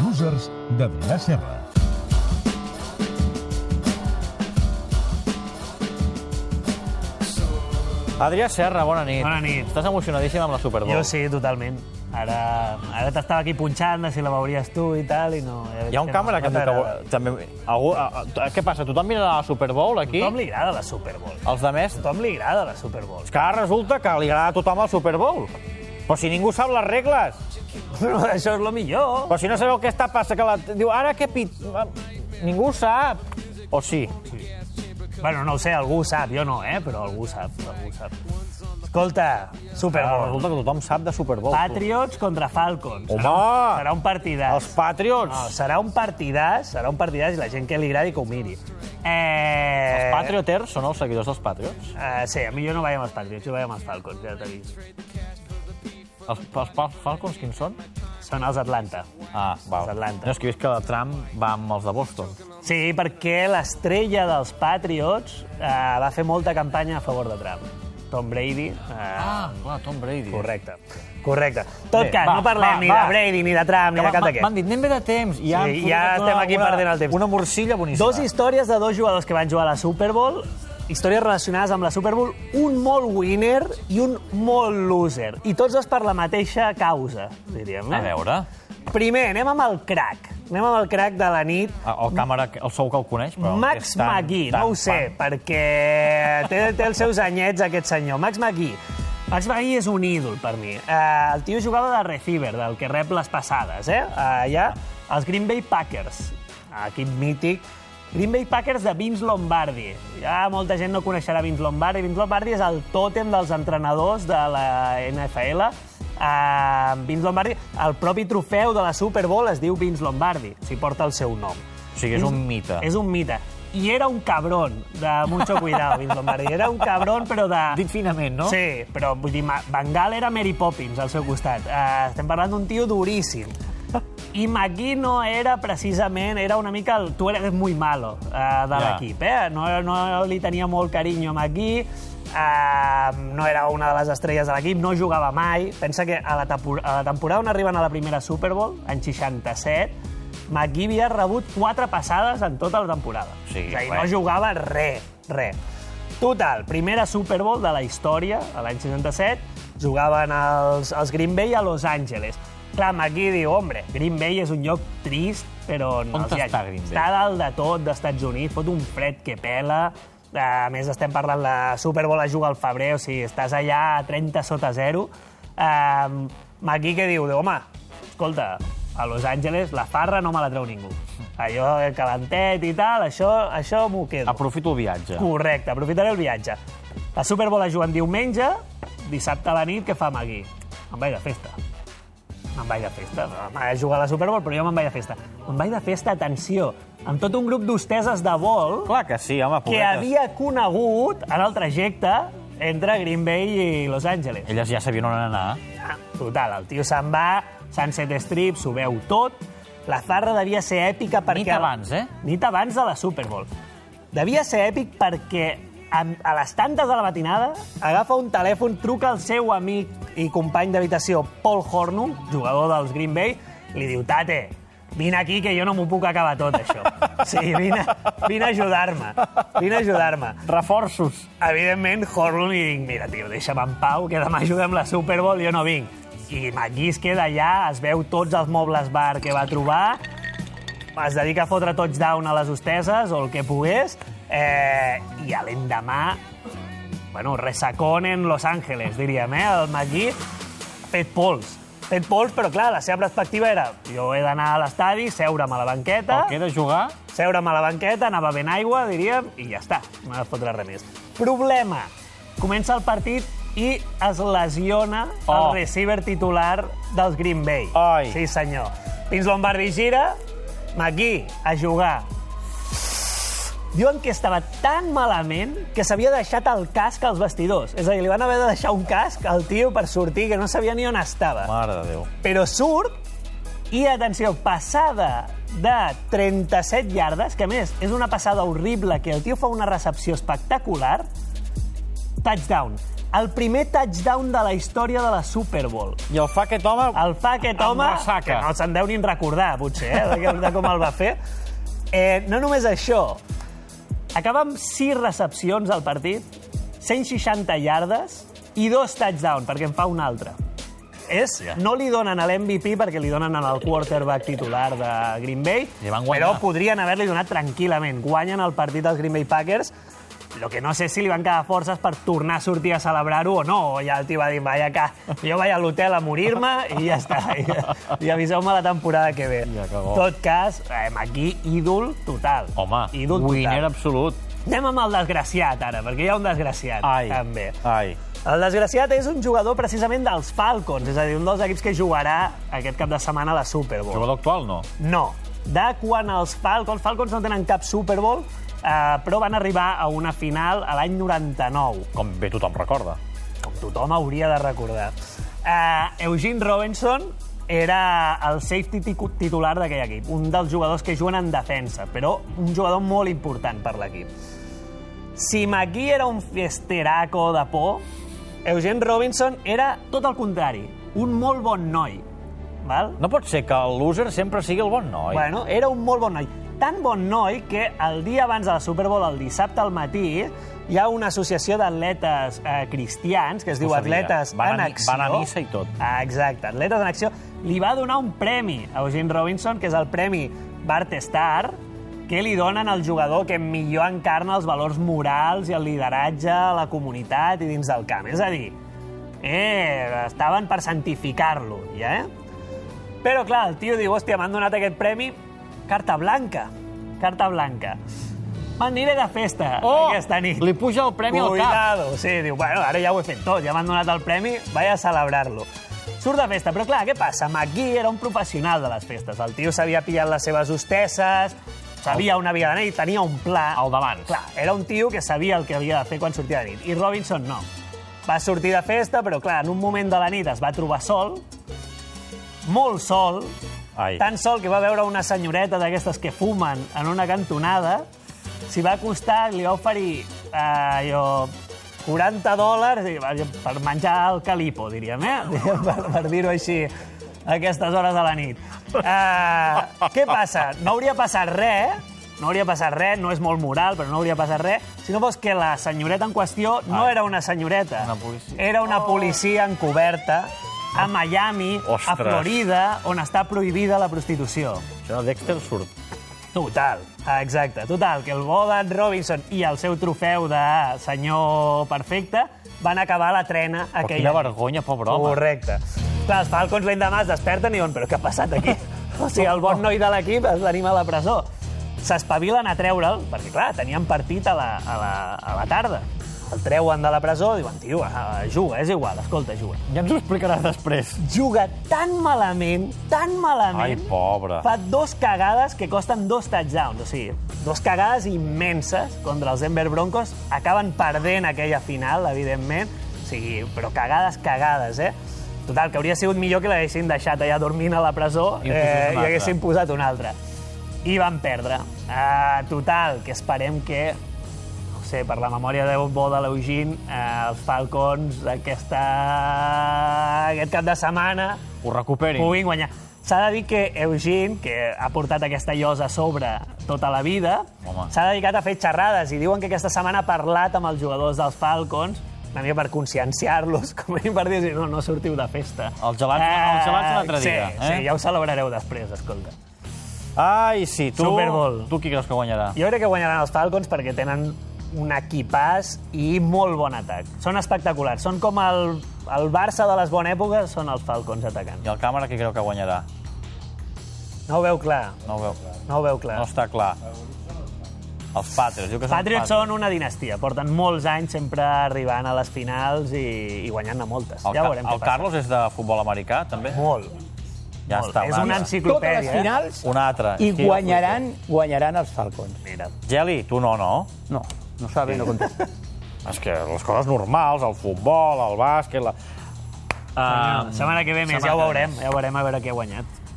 Losers d'Adrià Serra. Adrià Serra, bona nit. Bona nit. Estàs emocionadíssim amb la Super Bowl. Jo sí, totalment. Ara, ara t'estava aquí punxant, de si la veuries tu i tal, i no... Ja veig Hi ha un no- càmera que... no No que t'agrada. també, algú, a, a, què passa? Tothom mira la Super Bowl A aquí? tothom li agrada la Super Bowl. A Els de més? tothom li agrada la Super Bowl. És que ara resulta que li agrada a tothom el Super Bowl. Però si ningú sap les regles, Però això és el millor. però si no sabeu què està passant, que la... diu, ara què pit... Ningú ho sap. O sí. Bueno, no ho sé, algú ho sap, jo no, eh? Però algú ho sap, algú ho sap. Escolta, Super Però Bowl. resulta que tothom Ah, sap de Super Bowl. Patriots contra Falcons. Home! Serà un, serà un partidàs. Els Patriots. No, serà un partidàs, serà un partidàs i la gent que li agradi que ho miri. Eh... Els Patrioters són els seguidors dels Patriots. Eh, sí, a mi jo no vaig amb els Patriots, jo vaig amb els Falcons, ja t'he dit. Els, els, els Falcons quins són? Són els Atlanta. Ah, val. Els Atlanta. No, és que he vist que la Trump va amb els de Boston. Sí, perquè l'estrella dels Patriots eh, va fer molta campanya a favor de Trump. Tom Brady. Eh, ah. clar, Tom Brady. Correcte, correcte. Tot Bé, cas, va, no parlem va, ni va. de Brady, ni de Trump, ni de cap d'aquests. M'han dit, anem bé de temps. I Sí, ja estem aquí perdent el temps. tota Una morcilla boníssima. Dos històries de dos jugadors que van jugar a la Super Bowl, històries relacionades amb la Super Bowl, un molt winner i un molt loser. I tots dos per la mateixa causa, diríem. A veure, Primer, anem amb el crack. Anem amb el crack de la nit. el càmera, el sou que el coneix, però... Max és tan, McGee, tan no ho sé, perquè té, té els seus anyets aquest senyor. Max McGee. Max McGee és un ídol per mi. Uh, el tio jugava de receiver, del que rep les passades, eh? Uh, hi ha els Green Bay Packers, equip mític. Green Bay Packers de Vince Lombardi. Ja molta gent no coneixerà Vince Lombardi. Vince Lombardi és el tòtem dels entrenadors de la NFL. Uh, Vince Lombardi, el propi trofeu de la Super Bowl es diu Vince Lombardi, si porta el seu nom. O sigui, és un mite. És un mite. I era un cabrón, de mucho cuidado, Vince Lombardi. Era un cabrón, però de... Dit finament, no? Sí, però vull dir, Ma- Van Gaal era Mary Poppins al seu costat. Uh, estem parlant d'un tio duríssim. I McGee no era precisament, era una mica el tu eres muy malo uh, de l'equip, eh? No, no li tenia molt carinyo a McGee, uh, no era una de les estrelles de l'equip, no jugava mai. Pensa que a la, tempor- a la temporada on arriben a la primera Super Bowl, en 67, McGee havia rebut quatre passades en tota la temporada. Sí, és a dir, res. no jugava res, res. Total, primera Super Bowl de la història, a l'any 67, jugaven els, els Green Bay a Los Angeles. Clar, McGee diu, hombre, Green Bay és un lloc trist, però... No On els hi ha- està Green Bay? Està dalt de tot, d'Estats Units, fot un fred que pela, a més, estem parlant la Super Bowl a jugar al febrer, o sigui, estàs allà a 30 sota 0. Um, Maqui que diu, home, escolta, a Los Angeles la farra no me la treu ningú. Allò el calentet i tal, això, això m'ho quedo. Aprofito el viatge. Correcte, aprofitaré el viatge. La Super Bowl es juga en diumenge, dissabte a la nit, què fa Magui? Me'n vaig de festa. Me'n vaig de festa. M'ha de jugar a la Super Bowl, però jo me'n vaig de festa. Me'n vaig de festa, atenció, amb tot un grup d'hosteses de vol Clar que sí, home, que pobretes. havia conegut en el trajecte entre Green Bay i Los Angeles. Elles ja sabien on anar. Ah, Total, el tio se'n va, Sunset Strip, s'ho veu tot. La farra devia ser èpica perquè... abans, eh? Nit abans de la Super Bowl. Devia ser èpic perquè a, a les tantes de la matinada agafa un telèfon, truca al seu amic i company d'habitació, Paul Hornung, jugador dels Green Bay, li diu, tate, vine aquí que jo no m'ho puc acabar tot, això. Sí, vine, vine a ajudar-me, vine a ajudar-me. Reforços. Evidentment, Horlund li dic, mira, tio, deixa'm en pau, que demà juguem la Super Bowl, jo no vinc. I McGee es queda allà, es veu tots els mobles bar que va trobar, es dedica a fotre touchdown a les hosteses o el que pogués, eh, i a l'endemà, bueno, resacón en Los Ángeles, diríem, eh? El McGee ha fet pols. Ha Fet pols, però clar, la seva perspectiva era jo he d'anar a l'estadi, seure'm a la banqueta El que he de jugar... seure'm a la banqueta, anava ben aigua, diríem, i ja està, no ha de fotre res més. Problema. Comença el partit i es lesiona Oh. el receiver titular dels Green Bay. Ai. Sí, senyor. Pins Lombardi gira, McGee a jugar. Diuen que estava tan malament que s'havia deixat el casc als vestidors. És a dir, li van haver de deixar un casc al tio per sortir, que no sabia ni on estava Mare de Déu. però surt i, atenció, passada de 37 iardes, que a més és una passada horrible que el tio fa una recepció espectacular, touchdown. el primer touchdown de la història de la Super Bowl. I el fa aquest home... El fa aquest Amb home, ressaca. que no se'n deu ni recordar, potser, eh, de, de com el va fer. Eh, no només això, acaba amb 6 recepcions al partit, 160 yardes i dos touchdown, perquè en fa un altre. És, no li donen a l'MVP perquè li donen al quarterback titular de Green Bay, Li van guanyar. però podrien haver-li donat tranquil·lament. Guanyen el partit dels Green Bay Packers, lo que no sé si li van quedar forces per tornar a sortir a celebrar-ho o no. O ja el tio va dir, vaya que jo vaig a l'hotel a morir-me i ja està. I, i aviseu-me la temporada que ve. Ja, que bo. tot cas, eh, aquí ídol total. Home, ídol total. winner absolut. Anem amb el desgraciat, ara, perquè hi ha un desgraciat, Ai. també. Ai. El desgraciat és un jugador precisament dels Falcons, és a dir, un dels equips que jugarà aquest cap de setmana a la Super Bowl. Jugador actual, no. No. De quan els Falcons... Falcons no tenen cap Super Bowl, eh, però van arribar a una final a l'any 99, Com bé tothom recorda. com tothom hauria de recordar. Eh, Eugene Robinson era el safety ticu- titular d'aquell equip, un dels jugadors que juguen en defensa, però un jugador molt important per l'equip. Si McGee era un fiesteraco de por, Eugene Robinson era tot el contrari, un molt bon noi. Val? No pot ser que el loser sempre sigui el bon noi. Bueno, era un molt bon noi. Tan bon noi que el dia abans de la Super Bowl, el dissabte al matí, hi ha una associació d'atletes eh, cristians, que es diu sabia. Atletes Van a en mi- Acció. van a missa i tot. Ah, exacte, Atletes en Acció. Li va donar un premi a Eugene Robinson, que és el premi Bart Star, que li donen al jugador que millor encarna els valors morals i el lideratge a la comunitat i dins del camp. És a dir, eh, estaven per santificar-lo, ja, eh? Però, clar, el tio diu, hòstia, m'han donat aquest premi, carta blanca, carta blanca. M'aniré de festa Oh! aquesta nit. Li puja el premi al cap. Cuidado. Sí, diu, bueno, ara ja ho he fet tot, ja m'han donat el premi, vaig a celebrar-lo. Surt de festa, però clar, què passa? McGee era un professional de les festes. El tio s'havia pillat les seves hostesses, sabia on havia d'anar i tenia un pla. El d'abans. Clar, era un tio que sabia el que havia de fer quan sortia de nit. I Robinson no. Va sortir de festa, però clar, en un moment de la nit es va trobar sol, molt sol, Ai. tan sol que va veure una senyoreta d'aquestes que fumen en una cantonada, s'hi va acostar, li va oferir eh, allò, 40 dòlars i va- per menjar el calipo, diríem, eh? Diríem, per, per dir-ho així, a aquestes hores de la nit. Eh, què passa? No hauria passat res, no hauria passat res, no és molt moral, però no hauria passat res, si no fos que la senyoreta en qüestió no era una senyoreta. Una policia. Era una policia encoberta a Miami, a Ostres. Florida, on està prohibida la prostitució. Això de Dexter surt. Oh, Total. Ah, Exacte, total, que el bo d'en Robinson i el seu trofeu de senyor perfecte van acabar a la trena Però aquella quina nit. vergonya, pobre home. Correcte. Clar, els Falcons l'endemà es desperten i diuen però què ha passat aquí? O sigui, el bon noi de l'equip es l'anima a la presó. S'espavilen a treure'l, perquè, clar, tenien partit a la, a la, a la tarda. El treuen de la presó i diuen, tio, ah, juga, és igual, escolta, juga. Ja ens ho explicaràs després. Juga tan malament, tan malament... Ai, pobre. Fa dos cagades que costen dos touchdowns, o sigui, dos cagades immenses contra els Denver Broncos. Acaben perdent aquella final, evidentment, o sigui, però cagades, cagades, eh? Total, que hauria sigut millor que l'haguessin deixat allà dormint a la presó eh, I haguessin posat un i altre. haguessin posat un altre. I van perdre. Uh, total, que esperem que no sé, per la memòria de bo de l'Eugene, eh, els Falcons aquesta... aquest cap de setmana Ho recuperin. puguin guanyar. S'ha de dir que Eugene, que ha portat aquesta llosa a sobre tota la vida, Home. s'ha dedicat a fer xerrades i diuen que aquesta setmana ha parlat amb els jugadors dels Falcons una mica per conscienciar-los, com a mínim per dir no, no sortiu de festa. Els gelats- els gelats l'altre sí, dia, eh? Sí, ja ho celebrareu després, escolta. Ai, sí, tu... Super Bowl. Tu qui creus que guanyarà? Jo crec que guanyaran els Falcons perquè tenen un equipàs i molt bon atac. Són espectaculars. Són com el, el Barça de les bones èpoques, són els Falcons atacant. I el càmera qui creu que guanyarà? No ho veu clar, No ho veu clar. no ho veu clar. No està clar. Els Patriots. Diu que són Patriots són una dinastia, porten molts anys sempre arribant a les finals i, i guanyant-ne moltes. El, ja Ca- veurem el Carlos és de futbol americà, també? Molt. Ja molt. està, És una altre. enciclopèdia. Totes eh? les finals Un altre. i És que- guanyaran, guanyaran els Falcons. Mira, Geli, tu no, no? No, no sabe, no contesta. És que les coses normals, el futbol, el bàsquet... La... la Ah, setmana que ve setmana més, ja ho que ve veurem. Ja ho veurem a veure què ha guanyat.